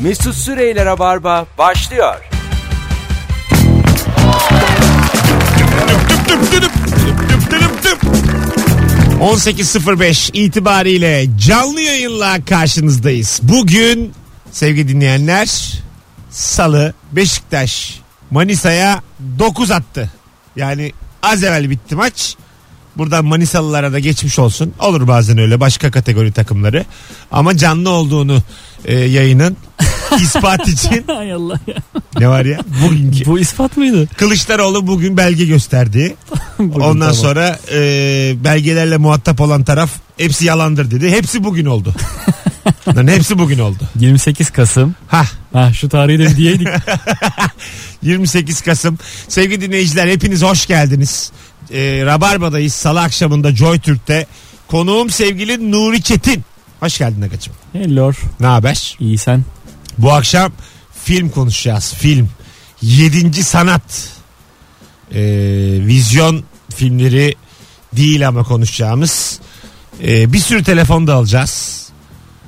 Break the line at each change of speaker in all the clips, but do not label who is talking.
Mesut Süreyle Rabarba başlıyor.
Düp düp düdüp, düp düp düdüp düp. 18.05 itibariyle canlı yayınla karşınızdayız. Bugün sevgili dinleyenler Salı Beşiktaş Manisa'ya 9 attı. Yani az evvel bitti maç. Buradan Manisalılara da geçmiş olsun. Olur bazen öyle başka kategori takımları. Ama canlı olduğunu e, yayının ispat için
Hay Allah ya.
ne var ya? Bugünkü.
Bu ispat mıydı?
Kılıçdaroğlu bugün belge gösterdi. Ondan
tamam.
sonra e, belgelerle muhatap olan taraf hepsi yalandır dedi. Hepsi bugün oldu. Lan hepsi bugün oldu.
28 Kasım.
Ha
Ha şu tarihi de bir diyeydik.
28 Kasım. Sevgili dinleyiciler hepiniz hoş geldiniz. E, Rabarba'dayız salı akşamında Joy Türk'te. Konuğum sevgili Nuri Çetin. Hoş geldin Agacım.
Hello.
Ne haber?
İyi sen.
Bu akşam film konuşacağız. Film. Yedinci sanat. Ee, vizyon filmleri değil ama konuşacağımız. Ee, bir sürü telefon da alacağız.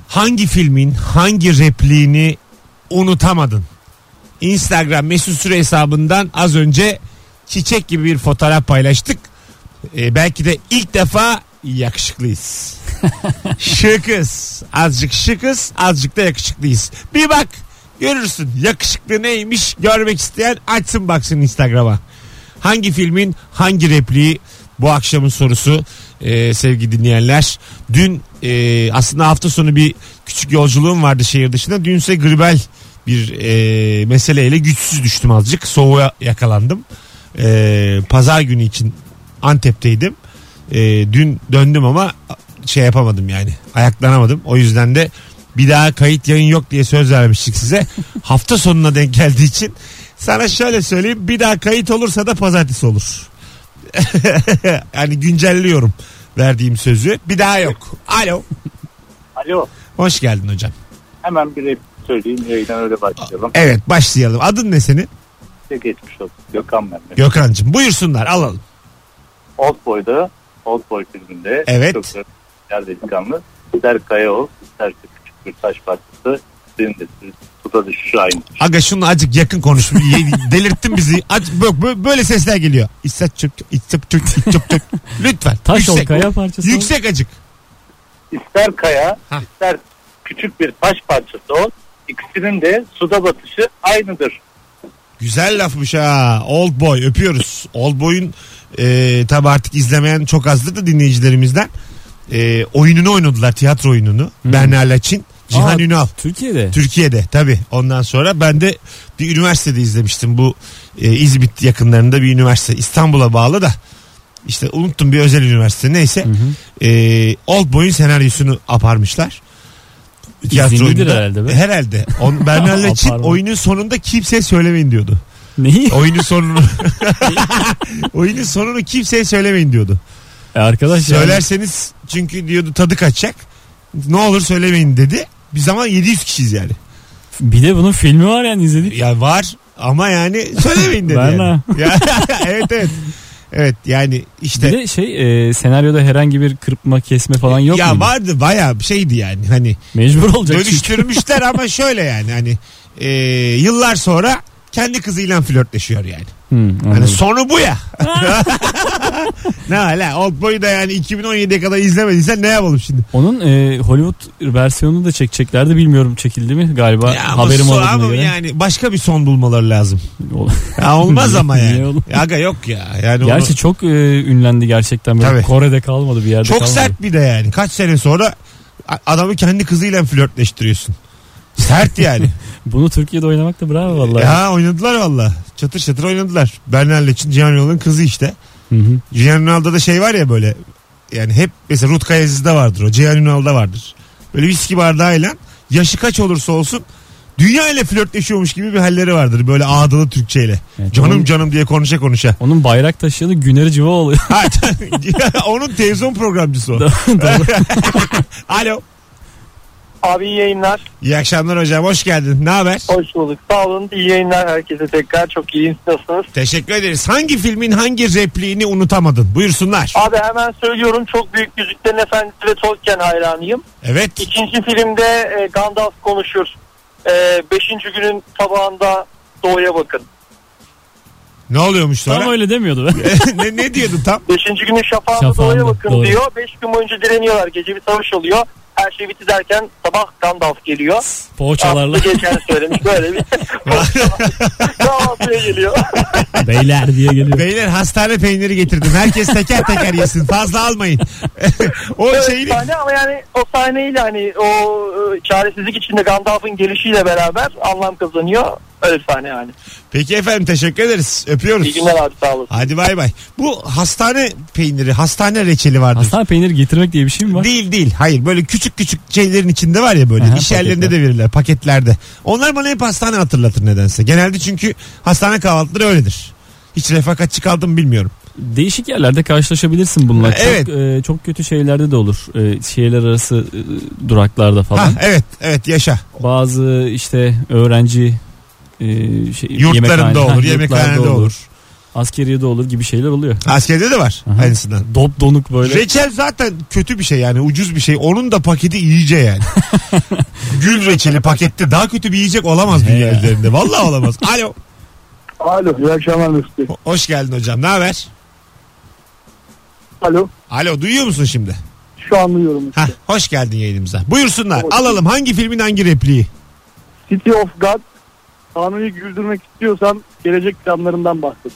Hangi filmin hangi repliğini unutamadın? Instagram mesut süre hesabından az önce çiçek gibi bir fotoğraf paylaştık. Ee, belki de ilk defa yakışıklıyız. Şıkız. Azıcık şıkız, azıcık da yakışıklıyız. Bir bak görürsün yakışıklı neymiş görmek isteyen açsın baksın Instagram'a. Hangi filmin hangi repliği bu akşamın sorusu Ee, sevgili dinleyenler. Dün e, aslında hafta sonu bir küçük yolculuğum vardı şehir dışında. Dünse gribel bir e, meseleyle güçsüz düştüm azıcık. Soğuğa yakalandım. Ee, pazar günü için Antep'teydim. Ee, dün döndüm ama şey yapamadım yani. Ayaklanamadım. O yüzden de bir daha kayıt yayın yok diye söz vermiştik size. Hafta sonuna denk geldiği için sana şöyle söyleyeyim. Bir daha kayıt olursa da pazartesi olur. yani güncelliyorum verdiğim sözü. Bir daha yok. Alo.
Alo.
Hoş geldin hocam.
Hemen bir rap söyleyeyim. Yayından öyle başlayalım.
Evet başlayalım. Adın ne senin?
Size geçmiş olsun. Gökhan ben. de.
Gökhan'cığım. Buyursunlar alalım.
Old Boy'da, Old Boy filminde.
Evet.
Çok da güzel delikanlı. İster Kayaoğuz, isterse küçük bir taş parçası. Senin de tuta düşüşü aynı.
Aga şunu acık yakın konuş. Ye- Delirttin bizi. Ac- bö- bö- böyle sesler geliyor. İstat çöp çöp çöp çöp çöp. Lütfen.
Taş ol
yüksek.
kaya parçası. ol.
Yüksek acık.
İster kaya,
Hah.
ister küçük bir taş parçası ol. İkisinin de suda batışı aynıdır.
Güzel lafmış ha. Old Boy öpüyoruz. Old Boy'un e, tabi artık izlemeyen çok azdır da dinleyicilerimizden. E, oyununu oynadılar tiyatro oyununu. Berna Laçin, Cihan
Aa,
Ünal.
Türkiye'de.
Türkiye'de tabi ondan sonra ben de bir üniversitede izlemiştim bu e, İzmit yakınlarında bir üniversite İstanbul'a bağlı da işte unuttum bir özel üniversite neyse E, Old Boy'un senaryosunu aparmışlar. Tiyatro
İzinlidir
oyununda.
herhalde be.
Herhalde. On, Bernal için
Aparma.
oyunun sonunda kimseye söylemeyin diyordu.
Neyi?
Oyunun sonunu oyunun sonunu kimseye söylemeyin diyordu.
E, arkadaş ya.
Söylerseniz çünkü diyordu tadı kaçacak. Ne olur söylemeyin dedi. Biz ama 700 kişiyiz yani.
Bir de bunun filmi var yani izledik.
Ya var ama yani söylemeyin dedi.
Ben
yani. Ya, evet evet. Evet yani işte
Bir de şey e, senaryoda herhangi bir kırpma kesme falan yok
ya
muydu?
vardı bayağı bir şeydi yani. Hani
Mecbur olacak çünkü.
dönüştürmüşler ama şöyle yani hani e, yıllar sonra kendi kızıyla flörtleşiyor yani.
Hmm,
Hani
anladım.
sonu bu ya. ne hala Oldboy'u da yani 2017'ye kadar izlemediysen ne yapalım şimdi?
Onun e, Hollywood versiyonunu da çekeceklerdi bilmiyorum çekildi mi galiba
Ya ama
haberim
son-
olmadığına
ama
göre.
yani başka bir son bulmaları lazım.
O-
Ya olmaz ama
Niye
yani.
oğlum?
Aga yok ya. Yani onu-
Gerçi çok e, ünlendi gerçekten böyle
Tabii.
Kore'de kalmadı bir yerde
Çok
kalmadı.
sert bir de yani. Kaç sene sonra a- adamı kendi kızıyla flörtleştiriyorsun. Sert yani.
Bunu Türkiye'de oynamak da bravo vallahi.
ya oynadılar valla. Çatır çatır oynadılar. Bernal için Cihan Ünal'ın kızı işte.
Hı hı.
Cihan Ünal'da da şey var ya böyle. Yani hep mesela Ruth Kayaziz'de vardır o. Cihan Ünal'da vardır. Böyle viski bardağıyla yaşı kaç olursa olsun dünya ile flörtleşiyormuş gibi bir halleri vardır. Böyle ağdalı Türkçeyle.
Evet,
canım
onun-
canım diye konuşa konuşa.
Onun bayrak taşıyanı Güner Civaoğlu.
Ha, Onun televizyon programcısı o. Alo.
Abi iyi yayınlar.
İyi akşamlar hocam. Hoş geldin. Ne haber?
Hoş bulduk. Sağ olun. İyi yayınlar herkese tekrar. Çok iyi nasılsınız?
Teşekkür ederiz. Hangi filmin hangi repliğini unutamadın? Buyursunlar.
Abi hemen söylüyorum. Çok büyük Yüzüklerin Efendisi ve Tolkien hayranıyım.
Evet.
İkinci filmde e, Gandalf konuşur. Ee, beşinci günün sabahında doğuya bakın.
Ne oluyormuş sonra?
Tam öyle demiyordu.
ne, ne diyordun tam?
Beşinci günün şafağında,
Şafağında,
doğuya bakın
doğru.
diyor. Beş gün boyunca direniyorlar. Gece bir savaş oluyor. Her şey bitti derken sabah Gandalf geliyor.
Poğaçalarla.
Aslı geçen söylemiş böyle bir kahvaltıya geliyor.
Beyler diye geliyor.
Beyler hastane peyniri getirdim. Herkes teker teker yesin. Fazla almayın. o şey
Evet,
şeyini
sahne ama yani o sahneyle hani o e, çaresizlik içinde Gandalf'ın gelişiyle beraber anlam kazanıyor. Öyle bir sahne yani.
Peki efendim teşekkür ederiz. Öpüyoruz.
İyi günler abi sağ olun.
Hadi bay bay. Bu hastane peyniri, hastane reçeli vardır.
Hastane peyniri getirmek diye bir şey mi var?
Değil değil. Hayır böyle küçük küçük şeylerin içinde var ya böyle.
Aha,
iş yerlerinde de
paketler.
verirler paketlerde. Onlar bana hep hastane hatırlatır nedense. Genelde çünkü hastane kahvaltıları öyledir. Hiç refakatçi kaldım bilmiyorum.
Değişik yerlerde karşılaşabilirsin bununla. Çok,
Evet.
e, çok kötü şeylerde de olur. E, şehirler arası e, duraklarda falan.
Ha, evet evet yaşa.
Bazı işte öğrenci e, şey, yemekhane-
Yurtlarında
Ha,
olur,
yurtlarda
yemekhanede olur.
Askeriyede olur gibi şeyler oluyor.
Askerde de var
Aha.
aynısından.
Dop donuk böyle.
Reçel zaten kötü bir şey yani ucuz bir şey. Onun da paketi iyice yani. Gül reçeli pakette daha kötü bir yiyecek olamaz dünya
He.
üzerinde. Vallahi olamaz. Alo.
Alo iyi akşamlar Mesut Bey.
Ho- Hoş geldin hocam. Ne haber?
Alo
Alo duyuyor musun şimdi?
şu an duyuyorum.
Hah, hoş geldin yayınımıza. Buyursunlar. Alalım hangi filmin hangi repliği?
City of God Tanrı'yı güldürmek istiyorsan gelecek planlarından bahset.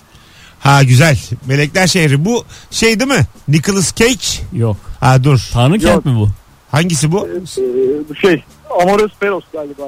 Ha güzel. Melekler Şehri. Bu şey değil mi? Nicholas Cage.
Yok.
Ha dur.
Tanrı kent mi bu?
Hangisi bu?
Ee, bu şey Amoros Peros galiba.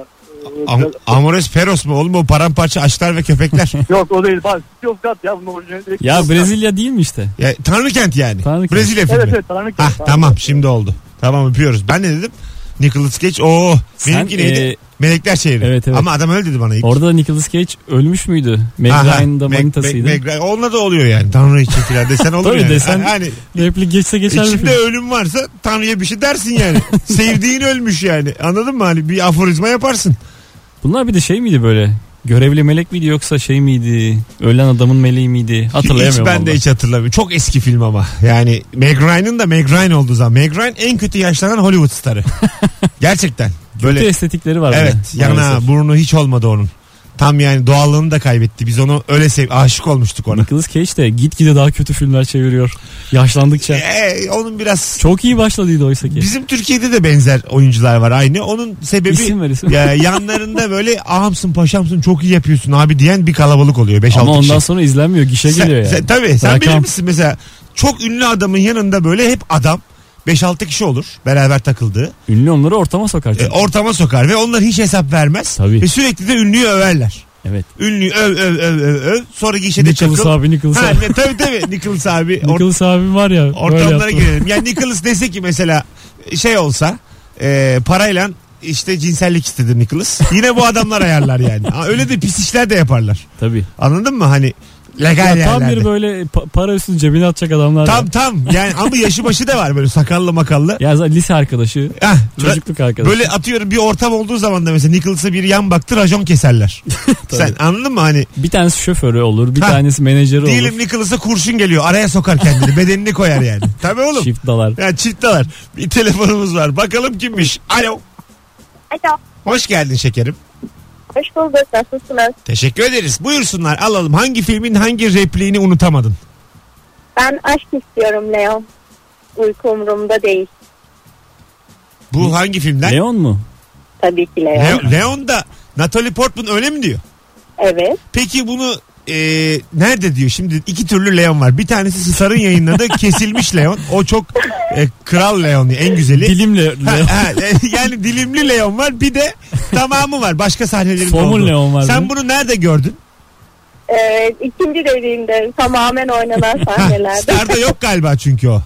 Ee,
Am Amores Peros mu? Oğlum o paramparça açlar ve köpekler.
Yok o değil. Bak, City of God ya bunun orijinali. direkt-
Ya Brezilya değil mi işte?
ya, Tanrıkent yani.
Tanrı Kent.
Brezilya filmi.
Evet evet Tanrı
Ah
Kent.
tamam şimdi oldu. Tamam öpüyoruz. Ben ne dedim? Nicholas Cage. Oo
Sen,
benimki neydi?
e,
Melekler Şehri.
Evet, evet.
Ama adam öyle dedi bana ilk.
Orada da Nicolas Cage ölmüş müydü? Meg
Aha,
Ryan'da
Meg-
manitasıydı.
Meg- Meg- Onunla da oluyor yani. Tanrı için filan desen olur
Tabii
yani.
desen-
Hani
Replik geçse geçer bir
İçinde
film.
ölüm varsa Tanrı'ya bir şey dersin yani. Sevdiğin ölmüş yani. Anladın mı? Hani bir aforizma yaparsın.
Bunlar bir de şey miydi böyle? Görevli melek miydi yoksa şey miydi? Ölen adamın meleği miydi? Hatırlayamıyorum.
Hiç ben de
vallahi.
hiç hatırlamıyorum. Çok eski film ama. Yani Meg Ryan'ın da Meg Ryan olduğu zaman. Meg Ryan en kötü yaşlanan Hollywood starı. Gerçekten. Böyle
Kötü estetikleri var.
evet
bir de, maalesef.
yana burnu hiç olmadı onun. Tam yani doğallığını da kaybetti. Biz onu öyle sev aşık olmuştuk ona.
Nicolas Cage de gitgide daha kötü filmler çeviriyor. Yaşlandıkça.
Ee, onun biraz
Çok iyi başladıydı oysa ki.
Bizim Türkiye'de de benzer oyuncular var aynı. Onun sebebi
İsim ver isim.
ya yanlarında böyle ahamsın paşamsın çok iyi yapıyorsun abi diyen bir kalabalık oluyor 5-6 kişi.
Ama ondan sonra izlenmiyor. Gişe
sen,
geliyor yani.
sen- tabii sen
Rakam.
bilir misin mesela çok ünlü adamın yanında böyle hep adam 5-6 kişi olur beraber takıldığı.
Ünlü onları ortama sokar.
E,
çünkü.
ortama sokar ve onlar hiç hesap vermez.
Tabii.
Ve sürekli de ünlüyü överler.
evet.
Ünlüyü öv öv öv öv öv. Sonra gişede çakıl.
Nicholas abi Nicholas
Ha,
abi.
ne, tabii tabii Nicholas abi. Or-
Nicholas abi var ya. böyle
Ortamlara
yaptı.
girelim. Yani Nicholas dese ki mesela şey olsa e, parayla işte cinsellik istedi Nicholas. Yine bu adamlar ayarlar yani. Ha, Öyle de pis işler de yaparlar.
Tabii.
Anladın mı? Hani legal
Ya tam bir
yerlerde.
böyle pa- para üstünü cebine atacak adamlar.
Tam
ya.
tam yani ama yaşı başı da var böyle sakallı makallı.
Ya zaten lise arkadaşı.
Hah,
Çocukluk arkadaşı.
böyle atıyorum bir ortam olduğu zaman da mesela Nicholas'a bir yan baktı rajon keserler. Sen anladın mı hani
Bir tanesi şoförü olur, bir
Ha.
tanesi menajeri
diyelim Nicholas'a kurşun geliyor araya sokar kendini bedenini koyar yani. Tabii
olur.
oğlum.
Çift dalar.
Ya çiftalar. Bir telefonumuz var. Bakalım kimmiş. Alo.
Alo.
Hoş geldin şekerim.
Hoş bulduk. Nasılsınız?
Teşekkür ederiz. Buyursunlar alalım. Hangi filmin hangi repliğini unutamadın?
Ben aşk istiyorum Leo. Uyku umurumda değil.
Bu hangi filmden?
Leon mu?
Tabii ki Leo.
Leon, Leon da Natalie Portman öyle mi diyor?
Evet.
Peki bunu e, nerede diyor? Şimdi iki türlü Leon var. Bir tanesi Star'ın yayınladığı kesilmiş Leon. O çok e, kral Leon en güzeli.
Dilimle
Ha,
Leon.
ha, e, yani dilimli Leon var bir de tamamı var. Başka sahnelerin de
Somun
olduğu.
Leon var
Sen
mı?
bunu nerede gördün?
Ee, ikinci dediğimde tamamen oynanan
Ha,
sahnelerde.
Star'da yok galiba çünkü o.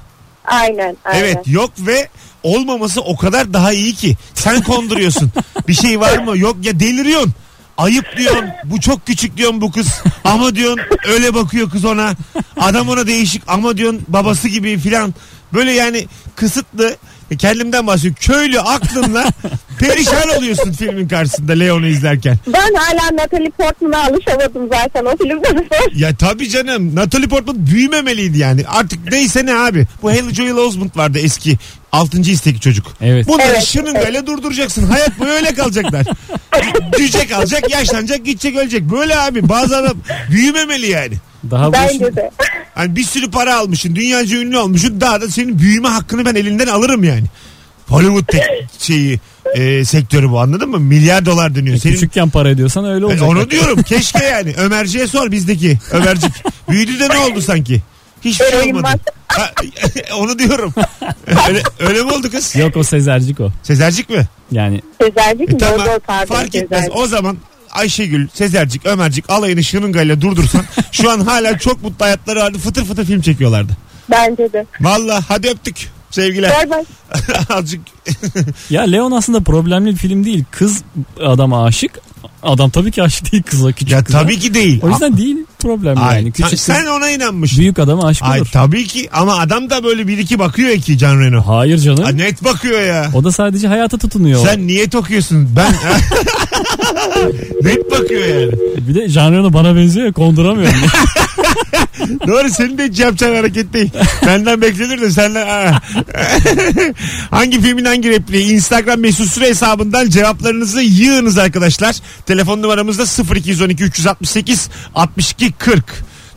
aynen. aynen.
Evet yok ve olmaması o kadar daha iyi ki. Sen konduruyorsun. bir şey var mı? Yok ya deliriyorsun. Ayıp diyorsun. Bu çok küçük diyorsun bu kız. Ama diyorsun öyle bakıyor kız ona. Adam ona değişik ama diyorsun babası gibi filan. Böyle yani kısıtlı kendimden bahsediyorum. Köylü aklınla perişan oluyorsun filmin karşısında Leon'u izlerken.
Ben hala Natalie Portman'a alışamadım zaten o filmde.
Ya tabii canım. Natalie Portman büyümemeliydi yani. Artık neyse ne abi. Bu Haley Joel Osment vardı eski. Altıncı istekli çocuk.
Evet.
Bunları
Evet,
şırıngayla durduracaksın. Hayat boyu öyle kalacaklar. Cüce kalacak, yaşlanacak, gidecek, ölecek. Böyle abi bazı adam büyümemeli yani.
Daha bu işin-
Bence de.
Hani bir sürü para almışsın, dünyaca ünlü olmuşsun. Daha da senin büyüme hakkını ben elinden alırım yani. Hollywood tek şeyi e, sektörü bu anladın mı? Milyar dolar dönüyor. Senin
Küçükken para ediyorsan öyle
E,
olacak.
onu diyorum. Keşke yani. Ömerci'ye sor bizdeki. Ömercik. Büyüdü de ne oldu sanki? Hiçbir şey
Eroin
olmadı.
var.
Ha, onu diyorum. öyle, öyle mi oldu kız?
Yok o Sezercik o.
Sezercik mi?
Yani
Sezercik
E,
mi?
tamam.
Doğru, pardon,
Fark etmez.
Sezercik.
O zaman Ayşegül, Sezercik, Ömercik alayını şırıngayla durdursan şu an hala çok mutlu hayatları vardı. Fıtır fıtır film çekiyorlardı.
Bence de.
Valla hadi öptük. Sevgiler.
Ver bak.
Azıcık
ya Leon aslında problemli bir film değil. Kız adama aşık. Adam tabii ki aşık değil kıza küçük
ya
kıza.
tabii ki değil.
O yüzden değil problem
Ay,
yani. Küçük
sen, sen
kız
ona inanmışsın.
büyük adama aşık
Ay
olur.
tabii ki ama adam da böyle bir iki bakıyor ki Can Reno.
Hayır canım.
Ay, net bakıyor ya.
O da sadece hayata tutunuyor.
Sen niyet okuyorsun? Ben net bakıyor yani.
Bir de Janreno bana benziyor ya konduramıyorum.
Doğru senin de hiç yapacağın hareket değil. Benden beklenir de senden Aa. hangi filmin hangi repliği Instagram mesut süre hesabından cevaplarınızı yığınız arkadaşlar. Telefon numaramız da 0212 368 62 40.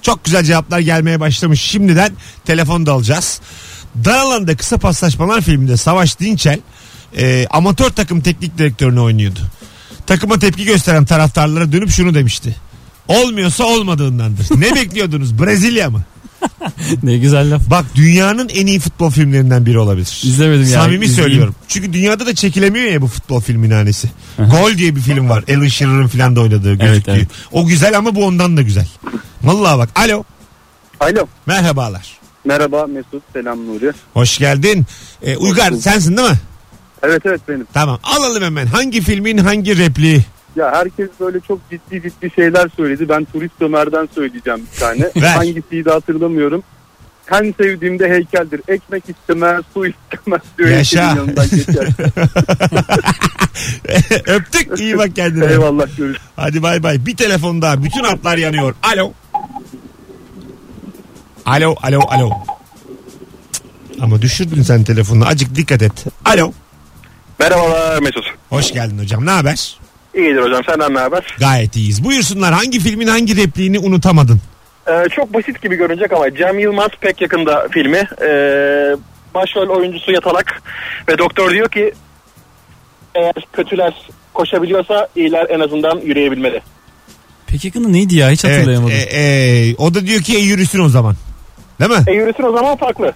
Çok güzel cevaplar gelmeye başlamış. Şimdiden telefon da alacağız. Daralan'da Kısa Paslaşmalar filminde Savaş Dinçel e, amatör takım teknik direktörünü oynuyordu. Takıma tepki gösteren taraftarlara dönüp şunu demişti. Olmuyorsa olmadığındandır. Ne bekliyordunuz? Brezilya mı?
ne güzel laf.
Bak dünyanın en iyi futbol filmlerinden biri olabilir.
İzlemedim yani.
Samimi
İzleyeyim.
söylüyorum. Çünkü dünyada da çekilemiyor ya bu futbol filmin hanesi. Gol diye bir film var. Alan Shearer'ın filan da oynadığı gözüktüğü.
evet.
O güzel ama bu ondan da güzel. Vallahi bak. Alo.
Alo.
Merhabalar.
Merhaba Mesut. Selam Nuri.
Hoş geldin. Ee, Uygar
bulduk.
sensin değil mi?
Evet evet benim.
Tamam. Alalım hemen. Hangi filmin hangi repliği?
Ya herkes böyle çok ciddi ciddi şeyler söyledi. Ben turist Ömer'den söyleyeceğim bir tane.
Ver.
Hangisiydi hatırlamıyorum. Sen sevdiğimde heykeldir. Ekmek istemez, su istemez diyor.
Yaşa.
heykelin yanından geçer.
Öptük. İyi bak kendine.
Eyvallah görüşürüz.
Hadi bay bay. Bir telefon daha. Bütün hatlar yanıyor. Alo. Alo, alo, alo. Cık, Ama düşürdün sen telefonunu. Acık dikkat et. Alo.
Merhabalar Mesut.
Hoş geldin hocam. Ne haber?
İyidir hocam senden ne haber?
Gayet iyiyiz. Buyursunlar. Hangi filmin hangi repliğini unutamadın?
Ee, çok basit gibi görünecek ama Cem Yılmaz pek yakında filmi. Ee, başrol oyuncusu yatalak ve doktor diyor ki eğer kötüler koşabiliyorsa iyiler en azından yürüyebilmeli.
Peki yakında neydi ya hiç hatırlayamadım.
Evet, e, e, o da diyor ki e, yürüsün o zaman. Değil mi?
E yürüsün o zaman farklı.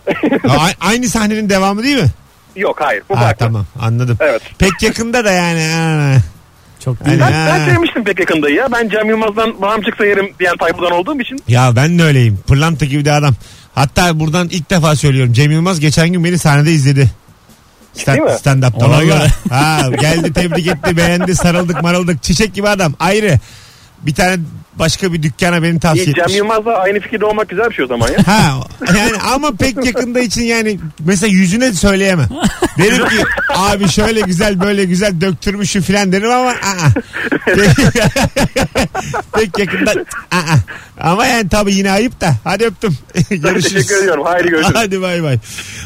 A- aynı sahnenin devamı değil mi?
Yok hayır bu
Ha,
farklı.
tamam anladım.
Evet.
Pek yakında da yani. ha.
Çok
Hani,
değil.
Ben,
ha.
ben sevmiştim pek yakında ya. Ben Cem Yılmaz'dan bağım çıksa yerim diyen tayfadan olduğum için.
Ya ben de öyleyim. Pırlanta gibi de adam. Hatta buradan ilk defa söylüyorum. Cem Yılmaz geçen gün beni sahnede izledi.
Değil mi?
Stand, stand up'ta.
Ona
Vallahi.
göre.
ha, geldi tebrik etti beğendi sarıldık marıldık. Çiçek gibi adam ayrı. Bir tane başka bir dükkana beni tavsiye
İyi, Cem
etmiş.
Yılmaz'la aynı fikirde olmak güzel bir şey o zaman ya.
Ha yani ama pek yakında için yani mesela yüzüne söyleyemem. Derim ki abi şöyle güzel böyle güzel döktürmüşüm filan derim ama aa. pek yakında aa. Ama yani tabii yine ayıp da hadi öptüm. Görüşürüz.
Teşekkür ediyorum. Haydi görüşürüz.
Hadi bay bay.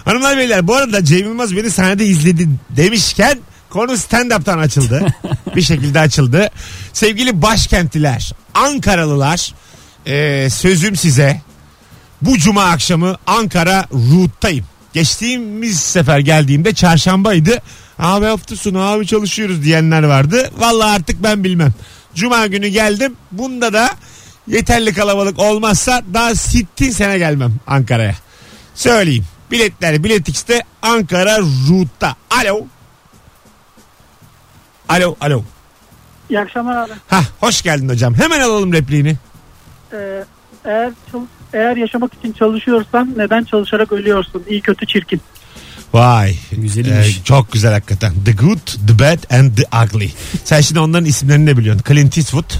Hanımlar beyler bu arada Cem Yılmaz beni sahnede izledi demişken konu stand-up'tan açıldı. bir şekilde açıldı. Sevgili başkentliler, Ankaralılar e, sözüm size. Bu cuma akşamı Ankara Root'tayım. Geçtiğimiz sefer geldiğimde çarşambaydı. Abi hafta sonu abi çalışıyoruz diyenler vardı. Vallahi artık ben bilmem. Cuma günü geldim. Bunda da yeterli kalabalık olmazsa daha sittin sene gelmem Ankara'ya. Söyleyeyim. Biletler Bilet X'te Ankara Root'ta. Alo. Alo, alo.
İyi akşamlar abi.
Hah, hoş geldin hocam. Hemen alalım repliğini.
Ee, eğer çal- eğer yaşamak için çalışıyorsan neden çalışarak ölüyorsun? İyi kötü çirkin.
Vay.
Güzelmiş.
Ee, çok güzel hakikaten. The good, the bad and the ugly. Sen şimdi onların isimlerini de biliyorsun. Clint Eastwood.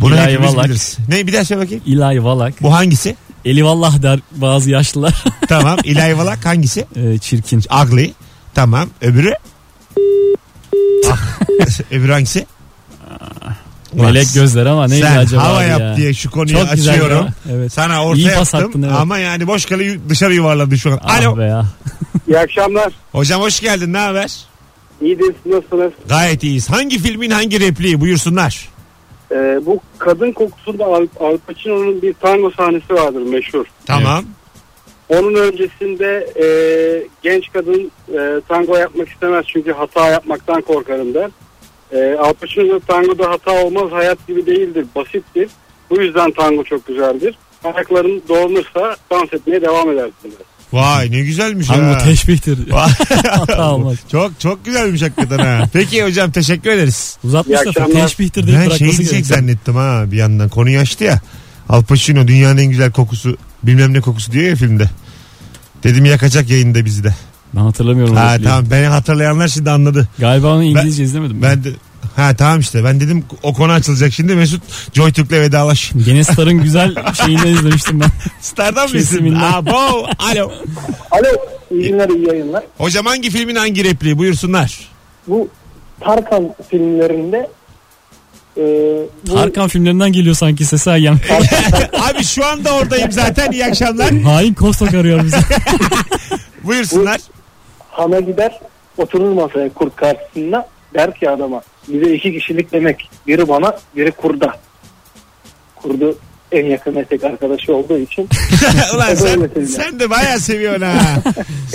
Bunu
İlahi
hepimiz
Valak.
biliriz. Ne bir daha söyle bakayım.
İlay Valak.
Bu hangisi?
Eli vallah der bazı yaşlılar.
tamam. İlahi Valak hangisi?
Ee, çirkin.
Ugly. Tamam. Öbürü? Ah. Öbürü hangisi? Ulan
Melek gözler ama neydi
Sen
acaba
hava
abi
yap
ya?
diye şu konuyu
Çok güzel
açıyorum.
ya, evet.
Sana ortaya
İyi pas
attım
attın, evet.
ama yani boş kale yu- dışarı yuvarladı şu an.
Ah
Alo.
be ya.
İyi akşamlar.
Hocam hoş geldin ne haber?
İyidir. Nasılsınız?
Gayet iyiyiz. Hangi filmin hangi repliği buyursunlar?
Ee, bu kadın kokusunda Al, Al Pacino'nun bir tango sahnesi vardır meşhur.
Tamam.
Onun öncesinde e, genç kadın e, tango yapmak istemez çünkü hata yapmaktan korkarım der. E, Al Pacino'da tangoda hata olmaz hayat gibi değildir basittir. Bu yüzden tango çok güzeldir. Ayakların doğrulursa dans etmeye devam edersin der.
Vay ne güzelmiş
Ama
ha.
bu teşbihtir. Hata olmaz.
Çok çok güzelmiş hakikaten ha. Peki hocam teşekkür ederiz.
Uzatmış
İyi
lafı.
akşamlar.
Teşbihtir deyip
Ben
bırakması
şey diyecek
gerekiyor.
zannettim ha bir yandan. Konuyu açtı ya. Al Pacino dünyanın en güzel kokusu bilmem ne kokusu diyor ya filmde. Dedim yakacak yayında bizi de.
Ben hatırlamıyorum.
Ha
orasını.
tamam beni hatırlayanlar şimdi anladı.
Galiba onu İngilizce izlemedim. Ben...
Ben de Ha tamam işte ben dedim o konu açılacak şimdi Mesut Joy Türk'le vedalaş.
Gene Star'ın güzel şeyini izlemiştim ben.
Stardan mısın?
Kesiminden.
Abo alo.
Alo iyi günler iyi yayınlar.
Hocam hangi filmin hangi repliği buyursunlar.
Bu Tarkan filmlerinde e, bu
Tarkan filmlerinden geliyor sanki sesi ayyan.
Abi şu anda oradayım zaten iyi akşamlar.
Hain Kostok arıyor bizi.
Buyursunlar.
hana gider oturur masaya kurt karşısında der ki adama bize iki kişilik demek biri bana biri kurda. Kurdu en yakın etek arkadaşı olduğu için
Ulan sen, sen de bayağı seviyorsun ha.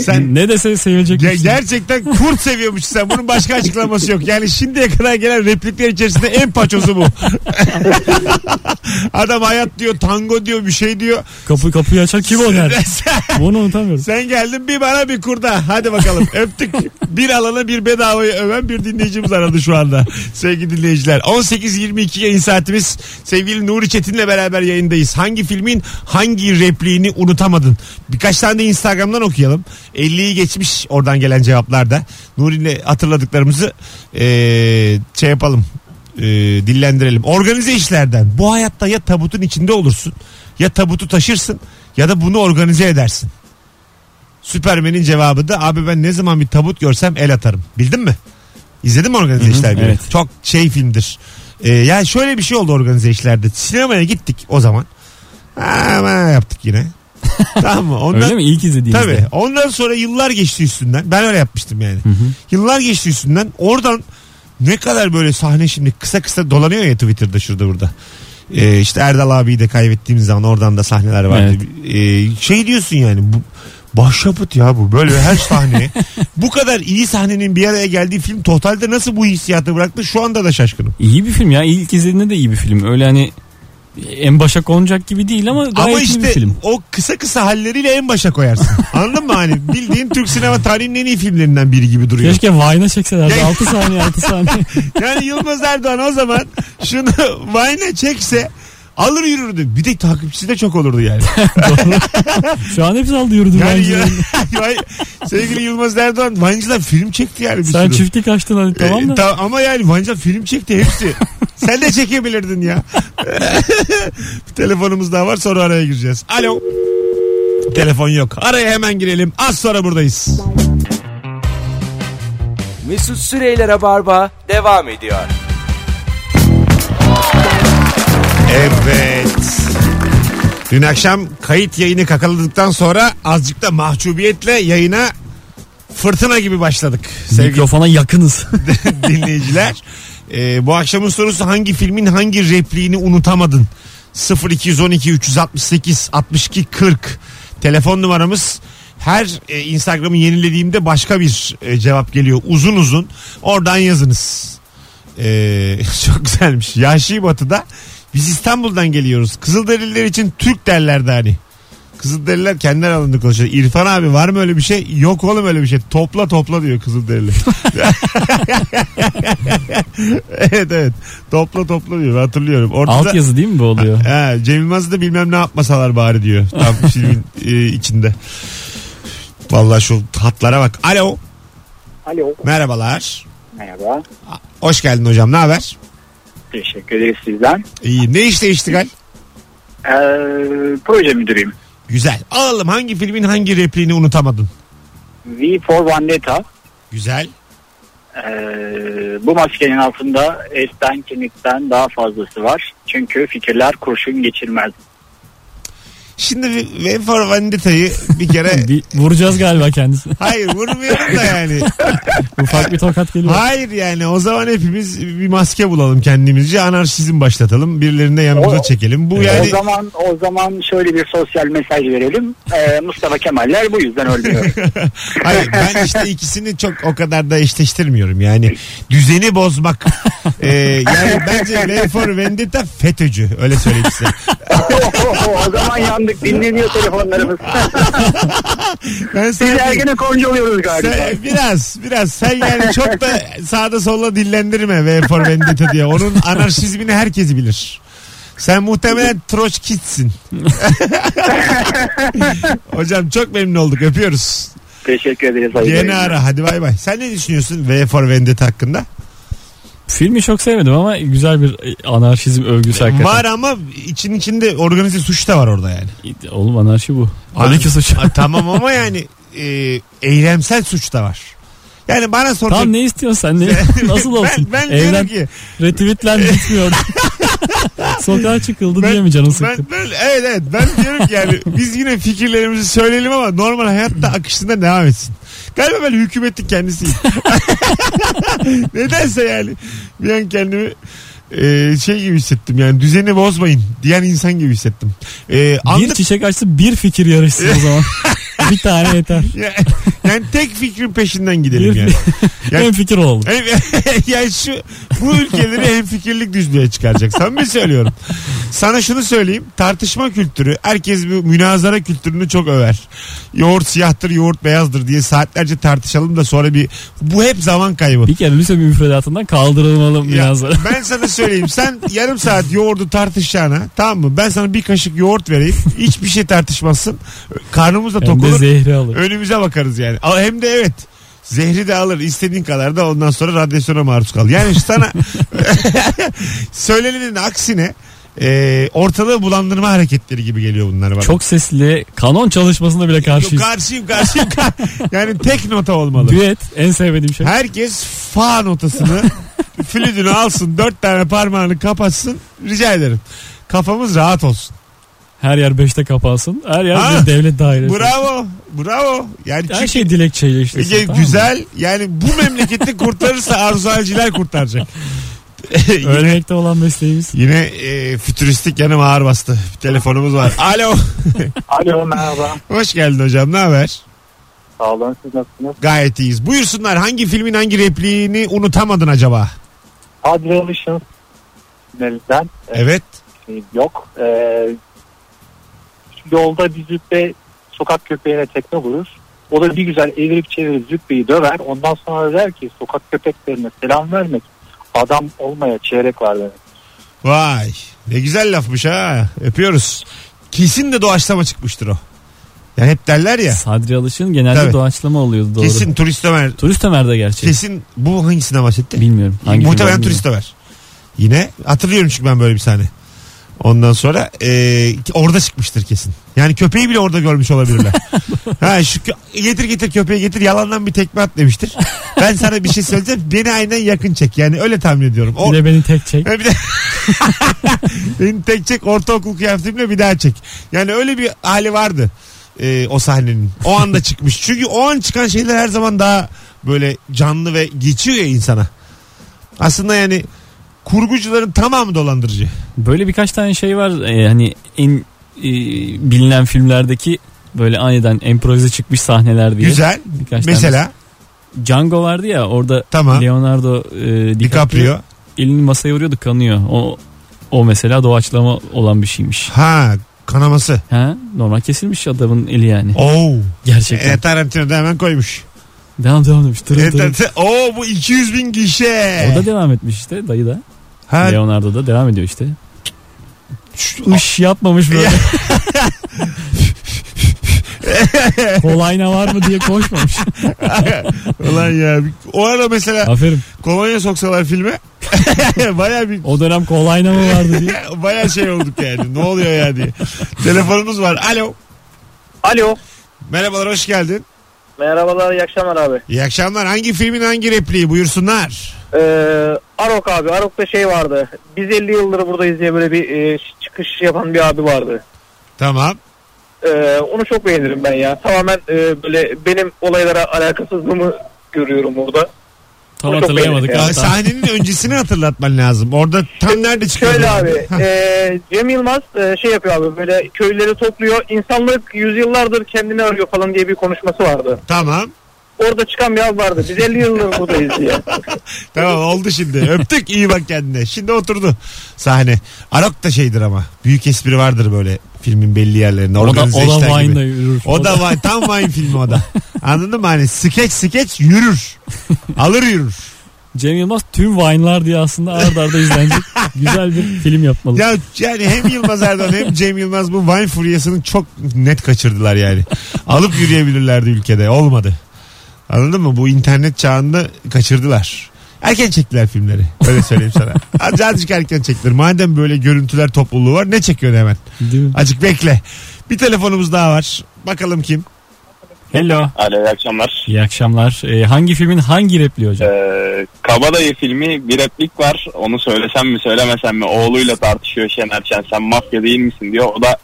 Sen
ne dese sevilecek.
Ge- gerçekten kurt seviyormuş sen. Bunun başka açıklaması yok. Yani şimdiye kadar gelen replikler içerisinde en paçozu bu. Adam hayat diyor, tango diyor, bir şey diyor.
Kapı kapıyı açar kim o der.
sen,
Bunu unutamıyorum.
sen geldin bir bana bir kurda. Hadi bakalım öptük. Bir alana bir bedavayı öven bir dinleyicimiz aradı şu anda. Sevgili dinleyiciler. 18.22 yayın saatimiz. Sevgili Nuri Çetin'le beraber yayındayız. Hangi filmin hangi repliğini unutamadın? Birkaç tane de Instagram'dan okuyalım. 50'yi geçmiş oradan gelen cevaplarda. Nuri'yle hatırladıklarımızı eee, şey yapalım. eee, dillendirelim. Organize işlerden. Bu hayatta ya tabutun içinde olursun ya tabutu taşırsın ya da bunu organize edersin. Süpermen'in cevabı da abi ben ne zaman bir tabut görsem el atarım. Bildin mi? İzledin mi Organize
Hı hı,
İşler Birliği?
evet.
Çok şey filmdir. Ee, yani şöyle bir şey oldu Organize İşler'de. Sinemaya gittik o zaman. Ama yaptık yine. tamam mı? Ondan,
Öyle mi? İlk izlediğinizde.
Tabii. Ondan sonra yıllar geçti üstünden. Ben öyle yapmıştım yani. Yıllar geçti üstünden. Oradan ne kadar böyle sahne şimdi kısa kısa dolanıyor ya Twitter'da şurada burada. Ee, işte Erdal abiyi de kaybettiğimiz zaman oradan da sahneler vardı. Ee, şey diyorsun yani bu başyapıt ya bu böyle her sahne. bu kadar iyi sahnenin bir araya geldiği film totalde nasıl bu hissiyatı bıraktı şu anda da şaşkınım.
İyi bir film ya. İlk izlediğinde de iyi bir film. Öyle hani en başa konacak gibi değil ama gayet
Ama
iyi bir
işte
film.
o kısa kısa halleriyle en başa koyarsın. Anladın mı hani bildiğin Türk sinema tarihinin en iyi filmlerinden biri gibi duruyor.
Keşke Vine'a çekselerdi.
Ya-
6 saniye 6 saniye.
Yani Yılmaz Erdoğan o zaman şunu Vine'e çekse alır yürürdü. Bir de takipçisi de çok olurdu yani.
Şu an hepsi aldı yürüdü
Yani
bence.
ya- Vine- sevgili Yılmaz Erdoğan Vine'cılar film çekti yani bir
Sen
sürü.
çiftlik açtın hadi
Ee,
tamam da.
tam- ama yani Vine'cılar film çekti hepsi. Sen de çekebilirdin ya. bir telefonumuz daha var sonra araya gireceğiz. Alo. Telefon yok. Araya hemen girelim. Az sonra buradayız.
Mesut Süreyler'e barba devam ediyor.
Evet. Dün akşam kayıt yayını kakaladıktan sonra azıcık da mahcubiyetle yayına fırtına gibi başladık sevgili
Mikrofona yakınız.
dinleyiciler. Ee, bu akşamın sorusu hangi filmin hangi repliğini unutamadın? 0212 368 62 40 telefon numaramız. Her e, Instagram'ı yenilediğimde başka bir e, cevap geliyor uzun uzun. Oradan yazınız. Ee, çok güzelmiş. Yahşi Batı'da biz İstanbul'dan geliyoruz. Kızılderililer için Türk derlerdi hani. Kızılderililer kendi aralarında konuşuyor. İrfan abi var mı öyle bir şey? Yok oğlum öyle bir şey. Topla topla diyor Kızılderili. evet evet. Topla topla diyor. Hatırlıyorum. Orada da-
Alt yazı değil mi bu oluyor?
Ha, Cem Yılmaz'ı da bilmem ne yapmasalar bari diyor. Tam filmin e, içinde. Vallahi şu hatlara bak. Alo.
Alo.
Merhabalar.
Merhaba.
Hoş geldin hocam. Ne haber?
Teşekkür ederiz sizden.
İyi. Ne işte iştigal?
Ee, proje müdürüyüm.
Güzel. Alalım hangi filmin hangi repliğini unutamadın?
V for Vendetta.
Güzel.
Ee, bu maskenin altında etten kemikten daha fazlası var. Çünkü fikirler kurşun geçirmez.
Şimdi Ven for Vanditta'yı bir kere
Bir vuracağız galiba kendisini.
hayır vurmuyorum da yani.
Ufak bir tokat geliyor.
Hayır yani o zaman hepimiz bir maske bulalım kendimizce anarşizm başlatalım. Birilerini de yanımıza
O-
çekelim. Bu yani
O zaman o zaman şöyle bir sosyal mesaj verelim. Ee, Mustafa Kemaller bu yüzden ölmüyor.
Hayır ben işte ikisini çok o kadar da eşleştirmiyorum yani düzeni bozmak Ee, yani bence V for Vendetta FETÖ'cü öyle söyleyeyim size.
o zaman yandık. Dinleniyor telefonlarımız.
Ben
Biz
sana diyeyim,
ergene koncu oluyoruz galiba.
sen- biraz biraz sen yani çok da sağda solda dillendirme V for Vendetta diye onun anarşizmini herkes bilir. Sen muhtemelen Troçkitsin. Hocam çok memnun olduk öpüyoruz.
Teşekkür ederiz. hayırlı
Yeni
yayınlar.
ara hadi bay bay. Sen ne düşünüyorsun V for Vendetta hakkında?
Filmi çok sevmedim ama güzel bir e, anarşizm övgüsü hakikaten.
Var ama için içinde organize suç da var orada yani.
Oğlum anarşi bu. Halbuki suç.
A- tamam ama yani e, eylemsel suç da var. Yani bana soracak.
Tam ne istiyorsun sen? Ne? Nasıl olsun?
Ben, ben diyorum
Evlen,
ki
retweetler bitmiyor. Sokağa çıkıldı
Ben-
diyemeyeceksin canın
ben,
sıktı.
ben, evet evet ben diyorum ki yani biz yine fikirlerimizi söyleyelim ama normal hayatta akışında devam etsin. Galiba ben hükümetin kendisiyim. Nedense yani bir an kendimi e, şey gibi hissettim yani düzeni bozmayın diyen insan gibi hissettim. E,
Bir
anlık-
çiçek açtı bir fikir yarışsın o zaman. bir tane yeter.
Ya- yani tek fikrin peşinden gidelim
Bir-
yani. Ya-
Hem fikir olalım.
Evet, yani şu bu ülkeleri hem fikirlik düzlüğe çıkaracak. Samimi söylüyorum. Sana şunu söyleyeyim. Tartışma kültürü. Herkes bu münazara kültürünü çok över. Yoğurt siyahtır, yoğurt beyazdır diye saatlerce tartışalım da sonra bir bu hep zaman kaybı.
Bir kere lise müfredatından kaldırılmalı
Ya,
münazara.
ben sana söyleyeyim. Sen yarım saat yoğurdu tartışacağına tamam mı? Ben sana bir kaşık yoğurt vereyim. Hiçbir şey tartışmazsın. Karnımız da
Hem
tok
de
olur.
zehri alır.
Önümüze bakarız yani. Al- Hem de evet. Zehri de alır istediğin kadar da ondan sonra radyasyona maruz kal. Yani şu sana söylenenin aksine e, ortalığı bulandırma hareketleri gibi geliyor bunlar bana.
Çok sesli kanon çalışmasında bile
Yok,
karşıyız.
karşıyım karşıyım. kar- yani tek nota olmalı.
Düet en sevmediğim şey.
Herkes fa notasını flütünü alsın dört tane parmağını kapatsın rica ederim. Kafamız rahat olsun.
Her yer beşte kapansın. Her yer
Ha,
bir devlet dairesi.
Bravo bravo. Yani
Her
çünkü-
şey dilekçeyle işlesin.
Ege
tamam mı?
güzel yani bu memleketi kurtarırsa arzualciler kurtaracak. yine
Ölmekte olan mesleğimiz.
yine e, fütüristik yanım ağır bastı. Bir telefonumuz var. Alo.
Alo merhaba.
Hoş geldin hocam. Ne haber?
Sağ olun siz nasılsınız?
Gayet iyiyiz. Buyursunlar hangi filmin hangi repliğini unutamadın acaba?
Adrelations finalinden
Evet.
şey yok. Ee, yolda bir züppe sokak köpeğine tekme vurur. O da bir güzel evirip çevirip züppeyi döver. Ondan sonra der ki sokak köpeklerine selam vermek adam olmaya çeyrek var demek.
Vay. Ne güzel lafmış ha. Öpüyoruz. Kesin de doğaçlama çıkmıştır o. Yani hep derler ya.
Sadri Alış'ın genelde
Tabii.
doğaçlama oluyordu doğru. Şey.
Kesin turist Ömer.
Turist Ömer'de gerçi.
Kesin bu hangisinden bahsetti?
Bilmiyorum. Hangi
Muhtemelen
film
turist Ömer. Yine hatırlıyorum çünkü ben böyle bir sahne. Ondan sonra e, orada çıkmıştır kesin. Yani köpeği bile orada görmüş olabilirler. ha şu kö- getir getir köpeği getir yalandan bir tekme at demiştir. Ben sana bir şey söyleyeceğim. Beni aynen yakın çek. Yani öyle tahmin ediyorum. O,
Bir de beni tek çek.
Ha, bir de... Beni tek çek ortaokul kıyafetimle bir daha çek. Yani öyle bir hali vardı. e, o sahnenin. O anda çıkmış. Çünkü o an çıkan şeyler her zaman daha böyle canlı ve geçiyor ya insana. Aslında yani kurgucuların tamamı dolandırıcı.
Böyle birkaç tane şey var. Ee, hani en e, bilinen filmlerdeki böyle aniden improvize çıkmış sahneler diye.
Güzel.
Birkaç tane.
Mesela
Django vardı ya orada
tamam.
Leonardo e, DiCaprio,
DiCaprio.
elini masaya vuruyordu kanıyor. O o mesela doğaçlama olan bir şeymiş.
Ha kanaması.
Ha? Normal kesilmiş adamın eli yani.
Oo.
Gerçekten.
E, Tarantino da hemen koymuş.
Devam devam demiş. Tırın
E,
tırın.
tar- Oo bu 200 bin gişe.
O da devam etmiş işte dayı da.
ha,
Leonardo da devam ediyor işte.
şu-
Iş yapmamış böyle. Kolayna var mı diye koşmamış.
Ulan ya. O ara mesela
Aferin.
kolonya soksalar filme baya bir
O dönem kolayna mı vardı diye.
baya şey olduk yani. Ne oluyor ya diye. Telefonumuz var. Alo.
Alo.
Merhabalar hoş geldin.
Merhabalar iyi akşamlar abi.
İyi akşamlar. Hangi filmin hangi repliği buyursunlar?
Ee, Arok abi. Arok'ta şey vardı. Biz 50 yıldır buradayız diye böyle bir e, çıkış yapan bir abi vardı.
Tamam.
Ee, onu çok beğenirim ben ya. Tamamen e, böyle benim olaylara alakasızlığımı görüyorum orada.
Tam
Onu çok
hatırlayamadık.
beğenirim
Ya
hatta.
sahnenin öncesini hatırlatman lazım. Orada tam nerede çıkıyor?
Şöyle abi e, Cem Yılmaz e, şey yapıyor abi böyle köylüleri topluyor. İnsanlık yüzyıllardır kendini arıyor falan diye bir konuşması vardı.
Tamam.
Orada çıkan bir av vardı. Biz 50 yıldır buradayız diye.
Tamam oldu şimdi. Öptük iyi bak kendine. Şimdi oturdu sahne. Arok da şeydir ama. Büyük espri vardır böyle filmin belli yerlerinde.
O da,
Organize
o
işler
da
gibi.
Vine'da yürür.
O da vay, tam Vine filmi o da. Anladın mı? Hani skeç skeç yürür. Alır yürür.
Cem Yılmaz tüm Vine'lar diye aslında ardarda arda izlenecek güzel bir film yapmalı.
Ya yani hem Yılmaz Erdoğan hem Cem Yılmaz bu Vine furyasını çok net kaçırdılar yani. Alıp yürüyebilirlerdi ülkede. Olmadı. Anladın mı? Bu internet çağında kaçırdılar. Erken çektiler filmleri. Öyle söyleyeyim sana. Azıcık, azıcık erken çektiler. Madem böyle görüntüler topluluğu var ne çekiyorsun hemen?
Değil mi?
Azıcık bekle. Bir telefonumuz daha var. Bakalım kim?
Hello.
Alo iyi akşamlar.
İyi akşamlar. Ee, hangi filmin hangi repliği hocam?
Ee, Kabadayı filmi bir replik var. Onu söylesem mi söylemesem mi? Oğluyla tartışıyor Şener Şen. Sen mafya değil misin diyor. O da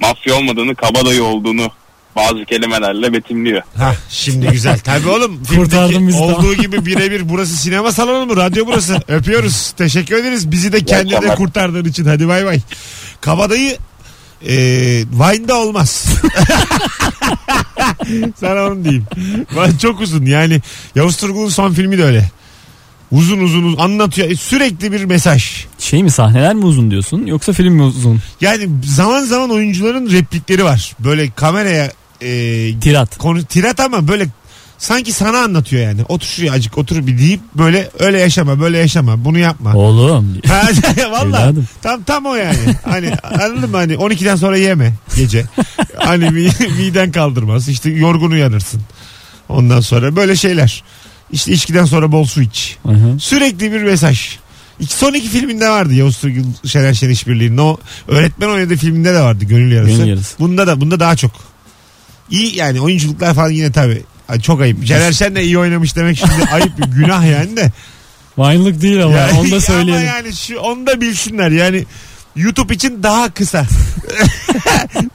mafya olmadığını kabadayı olduğunu bazı kelimelerle betimliyor.
Ha şimdi güzel. Tabii oğlum
Kurtardın
filmdeki
bizi
olduğu
tamam.
gibi birebir burası sinema salonu mu? Radyo burası. Öpüyoruz. Teşekkür ederiz. Bizi de kendine de
akşamlar.
kurtardığın için. Hadi bay bay. Kabadayı e, Vine'da olmaz. Sana onu diyeyim. Ben çok uzun yani. Yavuz Turgul'un son filmi de öyle. Uzun uzun, uzun anlatıyor. E, Sürekli bir mesaj.
Şey mi sahneler mi uzun diyorsun yoksa film mi uzun?
Yani zaman zaman oyuncuların replikleri var. Böyle kameraya e,
Tirat.
konu tirat ama böyle sanki sana anlatıyor yani. Otur şuraya acık otur bir deyip böyle öyle yaşama böyle yaşama bunu yapma.
Oğlum.
Ha, Valla
Evladım.
tam tam o yani. Hani anladın mı hani 12'den sonra yeme gece. Hani mi- miden kaldırmaz. işte yorgun uyanırsın. Ondan sonra böyle şeyler. İşte içkiden sonra bol su iç.
Hı hı.
Sürekli bir mesaj. İki, son iki filminde vardı Yavuz Turgul Şener Şen işbirliğinin o öğretmen oynadığı filminde de vardı Gönül Yarası.
Gönül Yarası.
Bunda da bunda daha çok. İyi yani oyunculuklar falan yine tabii. Ay, Çok ayıp. Şener Şen de iyi oynamış demek şimdi ayıp bir günah yani de.
Vine'lık değil ama
Yani-
onu da söyleyelim.
Ama yani şu, onu da bilsinler yani YouTube için daha kısa.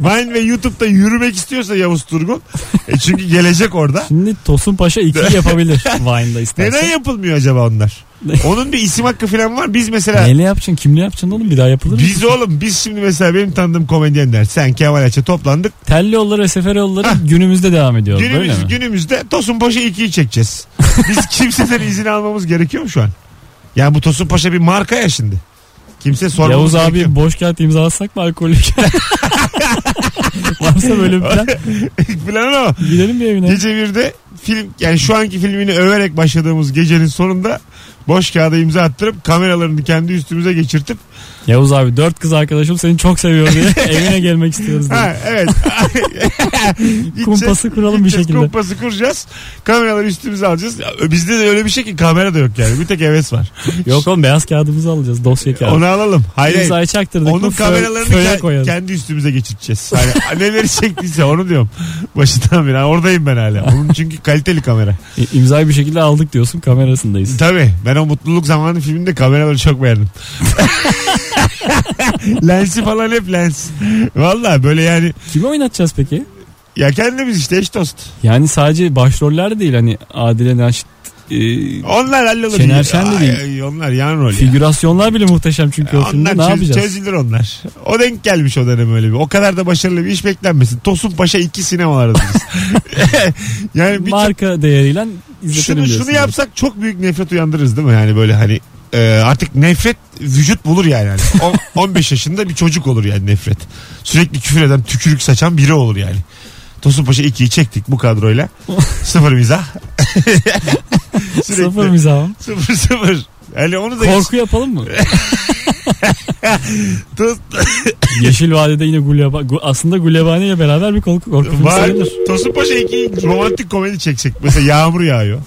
Vine ve YouTube'da yürümek istiyorsa Yavuz Turgul. E çünkü gelecek orada.
Şimdi Tosun Paşa 2 yapabilir Vine'da
Neden
istersen.
yapılmıyor acaba onlar? Onun bir isim hakkı falan var. Biz mesela
Neyle yapacaksın? Kimle yapacaksın oğlum? Bir daha yapılır mı?
biz oğlum biz şimdi mesela benim tanıdığım komedyenler sen Kemal Ayça toplandık.
Telli yolları ve sefer yolları günümüzde devam ediyor. böyle
Günümüz,
mi?
günümüzde Tosun Paşa 2'yi çekeceğiz. Biz kimseden izin almamız gerekiyor mu şu an? Yani bu Tosun Paşa bir marka ya şimdi. Kimse sormamız
Yavuz abi
gerekiyor.
boş kağıt imzalatsak mı alkolik? Varsa böyle bir plan.
Falan ama
Gidelim bir evine.
Gece 1'de film yani şu anki filmini överek başladığımız gecenin sonunda boş kağıda imza attırıp kameralarını kendi üstümüze geçirtip
Yavuz abi dört kız arkadaşım seni çok seviyor diye evine gelmek istiyoruz diye.
ha evet Gideceğiz,
Kumpası kuralım bir
gideceğiz,
şekilde.
Kumpası kuracağız. Kameraları üstümüze alacağız. Ya, Bizde de öyle bir şey ki kamera da yok yani. Bir tek heves var.
Yok oğlum beyaz kağıdımızı alacağız dosya kağıdı.
Onu alalım. Hayır. hayır.
İmzayı çaktırdık
Onun
mı fö-
kameralarını
föye
ke-
koyarız.
kendi üstümüze geçireceğiz. Hani neleri çektiyse onu diyorum. Başından beri. Ha, Oradayım ben hala. Onun çünkü kaliteli kamera.
İ- İmzayı bir şekilde aldık diyorsun kamerasındayız.
Tabii. Ben o mutluluk zamanı filminde kameraları çok beğendim. Lensi falan hep lens. Valla böyle yani
Kimi oynatacağız peki?
ya kendimiz işte eş dost.
Yani sadece başroller değil hani Adile Naşit e,
Onlar hallolur.
Şener Şen de
Ay,
değil.
ay, onlar yan rol ya.
figürasyonlar bile muhteşem çünkü o filmde
Onlar
ne
çöz-
yapacağız?
çözülür onlar. O denk gelmiş o dönem öyle bir. O kadar da başarılı bir iş beklenmesin. Tosun Paşa 2 sinemalardayız. yani bir
Marka değeriyle
şunu, şunu
izletelim diyorsun.
yapsak çok büyük nefret uyandırırız değil mi? Yani böyle hani e, artık nefret vücut bulur yani. Hani on- 15 yaşında bir çocuk olur yani nefret. Sürekli küfür eden, tükürük saçan biri olur yani. Tosun Paşa 2'yi çektik bu kadroyla. sıfır mizah. Sürekli
Sıfır
sıfır,
mizahım.
sıfır Yani onu da
Korku yapalım mı?
Tos-
Yeşil Vadede yine Guleba, Gu- aslında Gulebani ile beraber bir korku, korku filmi
var.
sayılır.
Tosun Paşa 2'yi romantik komedi çeksek. Mesela yağmur yağıyor.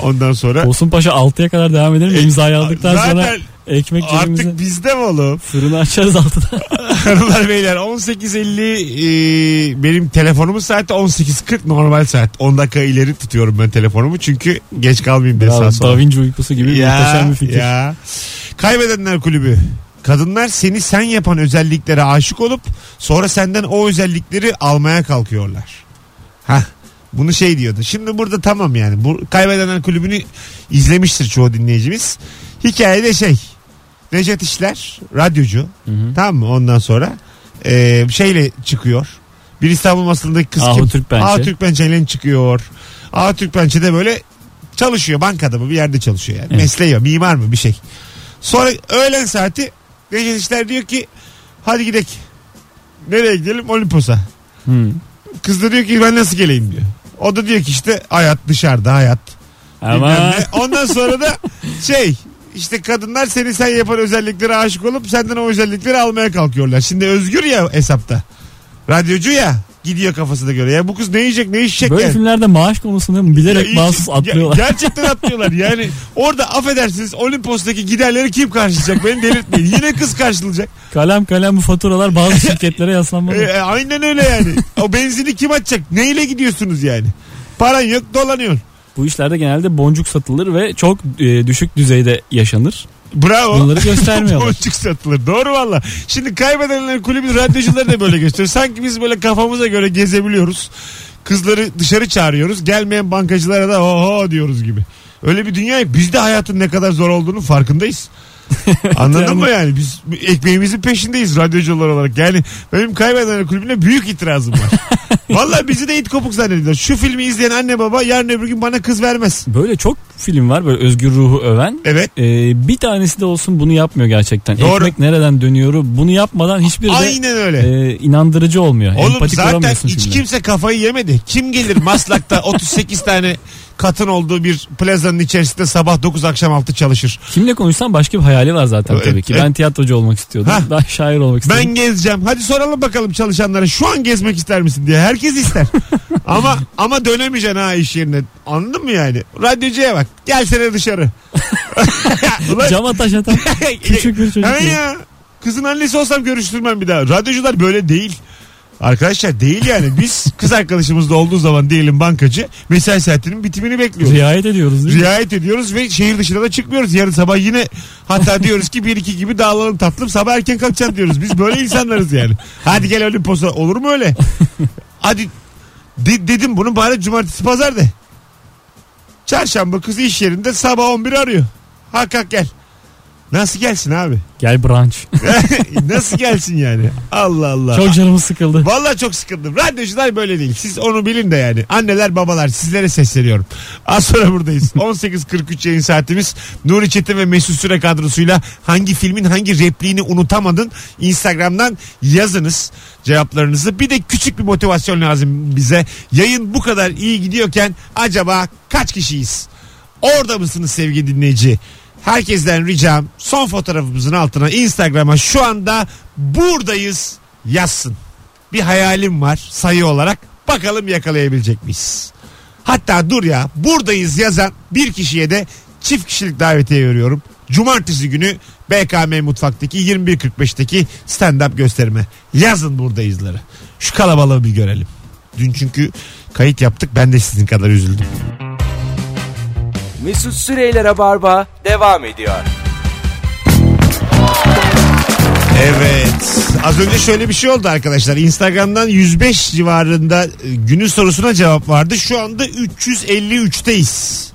Ondan sonra
Olsun Paşa 6'ya kadar devam edelim. İmzayı aldıktan sonra
E, zaten
ekmek cebimize
artık bizde mi oğlum?
fırını açarız altıda.
Hanımlar beyler 18.50 e, benim telefonumun saati 18.40 normal saat. 10 dakika ileri tutuyorum ben telefonumu çünkü geç kalmayayım diye
Bravo,
sağa
Da
sola.
Vinci uykusu gibi muhteşem bir fikir.
ya. Kaybedenler Kulübü Kadınlar seni sen yapan özelliklere aşık olup sonra senden o özellikleri almaya kalkıyorlar. Hah. Bunu şey diyordu. Şimdi burada tamam yani. Bu kaybedenler kulübünü izlemiştir çoğu dinleyicimiz. Hikayede şey. Necdet İşler radyocu. Tamam mı? Ondan sonra eee, şeyle çıkıyor. Bir İstanbul Masası'ndaki kız
Ahu
kim?
Türkpençe.
Ahu Türkpençe'yle çıkıyor. Ahu Türkpençe de böyle çalışıyor. Bankada mı bir yerde çalışıyor yani.
Evet.
Mesleği var, mimar mı bir şey. Sonra öğlen saati Necdet İşler diyor ki hadi gidelim. Nereye gidelim? Olimpos'a. Kız da diyor ki ben nasıl geleyim diyor. O da diyor ki işte hayat dışarıda hayat. Bilmem
Ama
ne. Ondan sonra da şey işte kadınlar seni sen yapan özelliklere aşık olup senden o özellikleri almaya kalkıyorlar. Şimdi özgür ya hesapta. Radyocu ya gidiyor kafasına göre. Ya bu kız ne yiyecek ne içecek
böyle
yani.
filmlerde maaş konusunu bilerek
Ya
mahsus
iyice-
atlıyorlar.
ya- gerçekten atlıyorlar. Yani orada affedersiniz Olimpos'taki giderleri kim karşılayacak? Beni delirtmeyin. Yine kız karşılayacak.
kalem kalem bu faturalar bazı şirketlere yaslanmalı.
E, aynen öyle yani. O benzini kim açacak? Neyle gidiyorsunuz yani? Paran yok dolanıyor.
Bu işlerde genelde boncuk satılır ve çok e, düşük düzeyde yaşanır.
Bravo.
Bunları göstermiyorlar.
Boncuk satılır. Doğru valla. Şimdi kaybedenler kulübü radyocuları da böyle gösteriyor. Sanki biz böyle kafamıza göre gezebiliyoruz. Kızları dışarı çağırıyoruz. Gelmeyen bankacılara da oho diyoruz gibi. Öyle bir dünya biz de hayatın ne kadar zor olduğunu farkındayız. Anladın mı yani? Biz ekmeğimizin peşindeyiz radyocular olarak. Yani benim kaybedenler kulübüne büyük itirazım var. Valla bizi de it kopuk zannediyorlar. Şu filmi izleyen anne baba yarın öbür gün bana kız vermez.
Böyle çok film var böyle özgür ruhu öven. E,
Evet.
bir tanesi de olsun bunu yapmıyor gerçekten.
Doğru.
Ekmek nereden dönüyor? Bunu yapmadan hiçbir de
Aynen öyle.
e, inandırıcı olmuyor.
Oğlum
Empatik
zaten
olamıyorsun
hiç
filmle.
kimse kafayı yemedi. Kim gelir Maslak'ta 38 tane katın olduğu bir plazanın içerisinde sabah 9 akşam 6 çalışır.
Kimle konuşsam başka bir hayali var zaten tabii ki.
evet.
Ben tiyatrocu olmak istiyordum.
Hah.
Ben şair olmak istiyordum.
Ben gezeceğim. Hadi soralım bakalım çalışanlara şu an gezmek ister misin diye. Herkes ister. ama ama dönemeyeceksin ha iş yerine. Anladın mı yani? Radyocuya bak. Gelsene dışarı. Ulan-
Cama taş atan küçük bir çocuk.
Hemen
gibi.
ya. Kızın annesi olsam görüştürmem bir daha. Radyocular böyle değil. Arkadaşlar değil yani. Biz kız arkadaşımızda olduğu zaman diyelim bankacı mesai saatinin bitimini bekliyoruz.
Riayet ediyoruz değil mi?
Riayet ediyoruz ve şehir dışına da çıkmıyoruz. Yarın sabah yine hatta diyoruz ki bir iki gibi dağılalım tatlım sabah erken kalkacağım diyoruz. Biz böyle insanlarız yani. Hadi gel Olimpos'a olur mu öyle? Hadi de- dedim bunu bari cumartesi pazar de. Çarşamba kızı iş yerinde sabah 11 arıyor. Hak hak gel. Nasıl gelsin abi?
Gel brunch.
Nasıl gelsin yani? Allah Allah.
Çok canımız sıkıldı.
Vallahi çok sıkıldım. Radyocular böyle değil. Siz onu bilin de yani. Anneler babalar sizlere sesleniyorum. Az sonra buradayız. 18.43 yayın saatimiz. Nuri Çetin ve Mesut Süre kadrosuyla hangi filmin hangi repliğini unutamadın? Instagram'dan yazınız cevaplarınızı. Bir de küçük bir motivasyon lazım bize. Yayın bu kadar iyi gidiyorken acaba kaç kişiyiz? Orada mısınız sevgili dinleyici? Herkesten ricam son fotoğrafımızın altına Instagram'a şu anda buradayız yazsın. Bir hayalim var sayı olarak. Bakalım yakalayabilecek miyiz? Hatta dur ya buradayız yazan bir kişiye de çift kişilik davetiye veriyorum. Cumartesi günü BKM Mutfak'taki 21.45'teki stand-up gösterime. Yazın buradayızları. Şu kalabalığı bir görelim. Dün çünkü kayıt yaptık ben de sizin kadar üzüldüm.
Mesut Süreyler'e barba devam ediyor.
Evet. Az önce şöyle bir şey oldu arkadaşlar. Instagram'dan 105 civarında e, günün sorusuna cevap vardı. Şu anda 353'teyiz.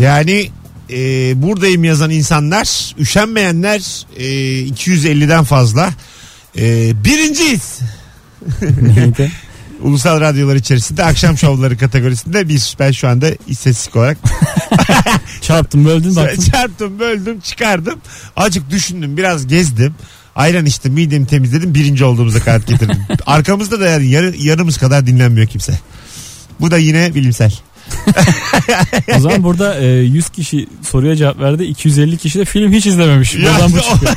Yani e, buradayım yazan insanlar, üşenmeyenler e, 250'den fazla. E, birinciyiz.
Neydi?
Ulusal radyolar içerisinde akşam şovları kategorisinde bir ben şu anda istatistik olarak
Çarptın böldün baktın.
çarptım böldüm çıkardım acık düşündüm biraz gezdim ayran içtim midemi temizledim birinci olduğumuza kanaat getirdim arkamızda da yani yarı, yarımız kadar dinlenmiyor kimse bu da yine bilimsel
O zaman burada e, 100 kişi soruya cevap verdi. 250 kişi de film hiç izlememiş.
Ya,
Buradan bu
o-
çıkıyor.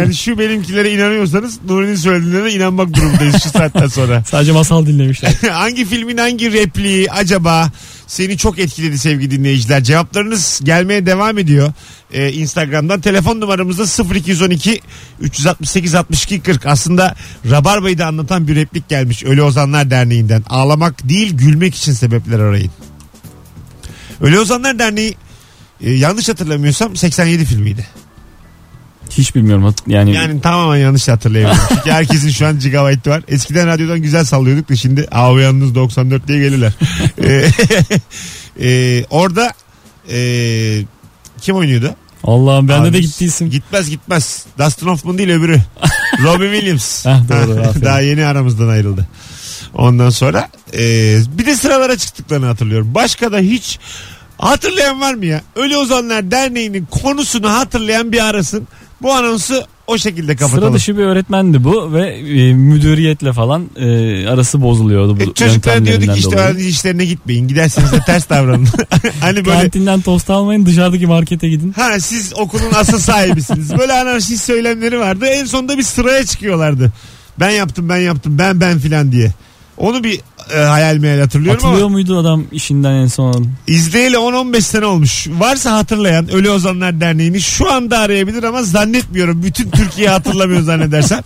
yani şu benimkilere inanıyorsanız Nuri'nin söylediğine inanmak durumundayız şu saatten sonra
Sadece masal dinlemişler.
hangi filmin hangi repliği acaba seni çok etkiledi sevgili dinleyiciler? Cevaplarınız gelmeye devam ediyor. Ee, Instagram'dan telefon numaramızda 0212 368 62 40. Aslında Rabarba'yı da anlatan bir replik gelmiş Ölü Ozanlar Derneği'nden. Ağlamak değil gülmek için sebepler arayın. Ölü Ozanlar Derneği e, yanlış hatırlamıyorsam 87 filmiydi.
Hiç bilmiyorum. Hat- Yani,
Yani tamamen yanlış hatırlayabilirim. Çünkü herkesin şu an gigabyte var. Eskiden radyodan güzel sallıyorduk da şimdi av yalnız 94 diye gelirler. Ee, e, orada e, kim oynuyordu?
Allah'ım bende de
Abimiz.
gitti isim.
Gitmez gitmez. Dustin Hoffman değil öbürü. Robin Williams.
Heh, Ah, doğru, aferin.
Daha yeni aramızdan ayrıldı. Ondan sonra e, bir de sıralara çıktıklarını hatırlıyorum. Başka da hiç hatırlayan var mı ya? Ölü Ozanlar Derneği'nin konusunu hatırlayan bir arasın. Bu anonsu o şekilde kapatalım.
Sıra dışı bir öğretmendi bu ve e, müdüriyetle falan e, arası bozuluyordu bu
E, çocuklara diyorduk
yöntemlerinden
ki işte
dolayı.
öğrenci işlerine gitmeyin. Giderseniz de ters davranın. hani böyle
Kantinden tost almayın dışarıdaki markete gidin.
ha siz okulun asıl sahibisiniz. Böyle anarşist söylemleri vardı. En sonunda bir sıraya çıkıyorlardı. Ben yaptım ben yaptım ben ben filan diye. Onu bir e, hayal meyal hatırlıyorum
Atılıyor
ama
muydu adam işinden en son?
izleyeli 10-15 sene olmuş. Varsa hatırlayan Ölü Ozanlar Derneği'ni şu anda arayabilir ama zannetmiyorum. Bütün Türkiye hatırlamıyor zannedersen.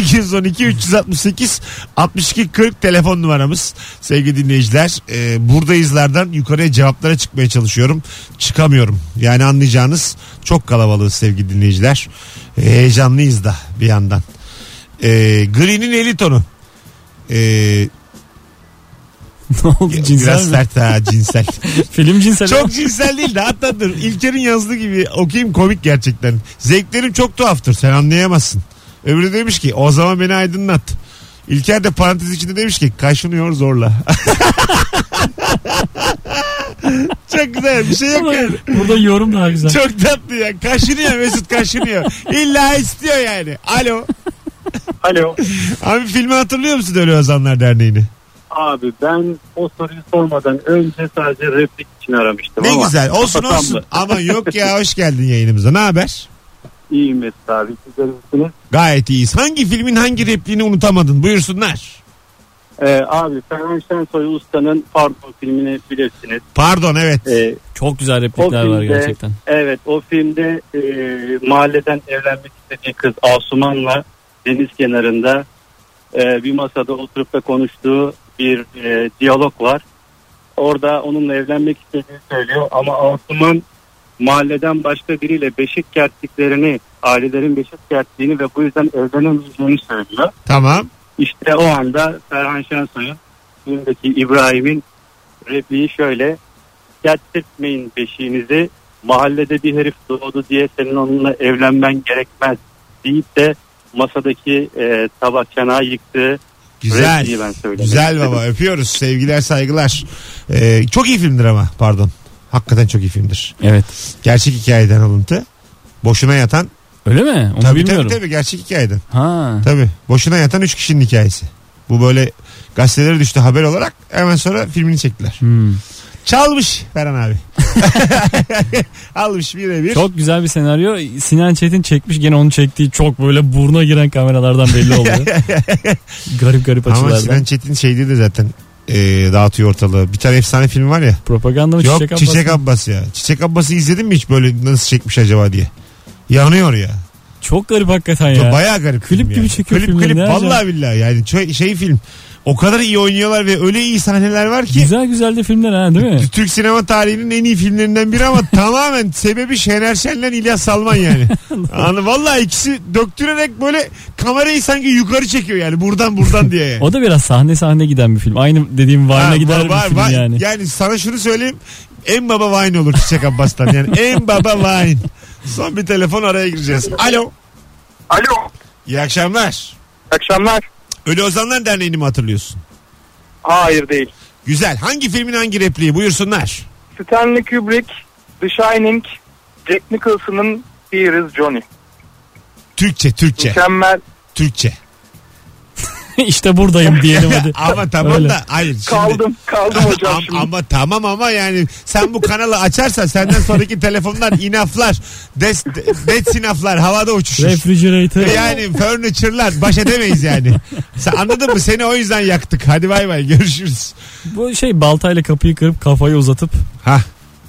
0212 368 62 40 telefon numaramız. Sevgili dinleyiciler e, buradayızlardan yukarıya cevaplara çıkmaya çalışıyorum. Çıkamıyorum. Yani anlayacağınız çok kalabalığız sevgili dinleyiciler. E, heyecanlıyız da bir yandan. E, Green'in eli tonu. E,
ne oldu cinsel
biraz
mi?
sert ha cinsel.
Film cinsel ama.
Çok cinsel değil de hatta dur İlker'in yazdığı gibi okuyayım komik gerçekten. Zevklerim çok tuhaftır sen anlayamazsın. Öbürü demiş ki o zaman beni aydınlat. İlker de parantez içinde demiş ki kaşınıyor zorla. çok güzel bir şey yok
Ama
yani.
Burada yorum daha güzel.
Çok tatlı ya. Kaşınıyor Mesut kaşınıyor. İlla istiyor yani. Alo.
Alo.
Abi filmi hatırlıyor musun Ölü Ozanlar Derneği'ni?
Abi ben o soruyu sormadan önce sadece replik için aramıştım
Ne
ama.
güzel. Olsun
kapatamdı.
olsun. Ama yok ya hoş geldin yayınımıza. Ne haber?
İyi Mesut abi. Sizler misiniz?
Gayet iyiyiz. Hangi filmin hangi repliğini unutamadın? Buyursunlar.
Ee, abi Ferhan Şensoy Usta'nın Pardon filmini bilirsiniz.
Pardon evet.
Ee,
Çok güzel
o
replikler var
filmde,
gerçekten.
Evet o filmde e, mahalleden evlenmek istediği kız Asuman'la deniz kenarında e, bir masada oturup da konuştuğu bir e, diyalog var. Orada onunla evlenmek istediğini söylüyor ama Asuman mahalleden başka biriyle beşik kertliklerini, ailelerin beşik kertliğini ve bu yüzden evlenemeyeceğini söylüyor.
Tamam.
İşte o anda Ferhan Şensoy'un filmdeki İbrahim'in repliği şöyle. Gerçekmeyin beşiğinizi mahallede bir herif doğdu diye senin onunla evlenmen gerekmez deyip de masadaki e, tabak çanağı yıktığı
Güzel.
repliği ben söyledim.
Güzel baba öpüyoruz. Sevgiler saygılar. Ee, çok iyi filmdir ama pardon. Hakikaten çok iyi filmdir.
Evet.
Gerçek hikayeden alıntı. Boşuna yatan.
Öyle mi? Onu
tabii
bilmiyorum.
tabii tabii gerçek hikayeden.
Ha.
Tabii. Boşuna yatan üç kişinin hikayesi. Bu böyle gazetelere düştü haber olarak. Hemen sonra filmini çektiler.
Hmm.
Çalmış Ferhan abi. Almış birebir.
Çok güzel bir senaryo. Sinan Çetin çekmiş gene onu çektiği çok böyle buruna giren kameralardan belli oluyor. garip garip
Ama
açılardan.
Sinan Çetin şeydi de zaten e, dağıtıyor ortalığı. Bir tane efsane film var ya.
Propaganda mı
Yok
çiçek ablası?
Çiçek Abbas ya. Çiçek Abbas'ı izledin mi hiç böyle nasıl çekmiş acaba diye. Yanıyor ya.
Çok garip hakikaten ya.
Bayağı garip
Klip
film
gibi
yani.
çekiyor
klip,
filmleri,
klip
ne acayip.
vallahi billahi yani şey, şey film. O kadar iyi oynuyorlar ve öyle iyi sahneler var ki.
Güzel güzel de filmler ha değil mi?
Türk sinema tarihinin en iyi filmlerinden biri ama tamamen sebebi Şener Şen'le İlyas Salman yani. Anı vallahi ikisi döktürerek böyle kamerayı sanki yukarı çekiyor yani buradan buradan diye. yani.
O da biraz sahne sahne giden bir film. Aynı dediğim
Ha,
varına
var-
gider
var-
bir film
var.
yani.
sana şunu söyleyeyim. En baba wine olur Çiçek Abbas'tan. Yani en baba wine. Son bir telefon araya gireceğiz. Alo.
Alo.
İyi akşamlar.
İyi akşamlar.
Ölü Ozanlar Derneği'ni mi hatırlıyorsun?
Hayır değil.
Güzel. Hangi filmin hangi repliği? Buyursunlar.
Stanley Kubrick, The Shining, Jack Nicholson'ın Here is Johnny.
Türkçe, Türkçe.
Mükemmel.
Türkçe.
işte buradayım diyelim hadi.
ama tamam
Öyle.
da hayır. Şimdi,
Kaldım, kaldım hocam
Am- ama tamam ama yani sen bu kanalı açarsan senden sonraki telefonlar inaflar, des, des inaflar havada uçuşur.
Refrigerator.
Yani furniture'lar baş edemeyiz yani. Sen anladın mı? Seni o yüzden yaktık. Hadi bay bay görüşürüz.
Bu şey baltayla kapıyı kırıp kafayı uzatıp
Ha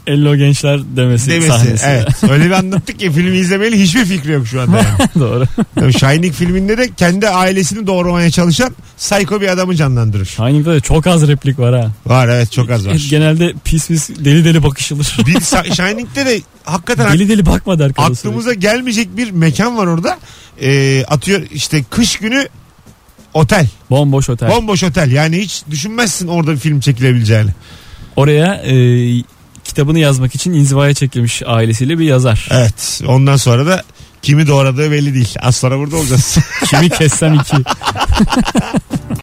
Ello gençler demesi,
demesi.
sahnesi.
Evet. Öyle bir anlattık ki filmi izlemeli hiçbir fikri yok şu anda. Yani.
Doğru.
Tabii Shining filminde de kendi ailesini doğurmaya çalışan psycho bir adamı canlandırır.
Shining'de de çok az replik var ha.
Var evet çok az var.
Genelde pis pis deli deli bakışılır.
Bir Sa- Shining'de de hakikaten
Deli deli bakma der kadın
aklımıza gelmeyecek bir mekan var orada. Ee, atıyor işte kış günü otel.
Bomboş otel.
Bomboş otel. Yani hiç düşünmezsin orada bir film çekilebileceğini.
Oraya e, kitabını yazmak için inzivaya çekilmiş ailesiyle bir yazar.
Evet. Ondan sonra da kimi doğradığı belli değil. Az sonra burada olacağız.
Kimi kessem iki.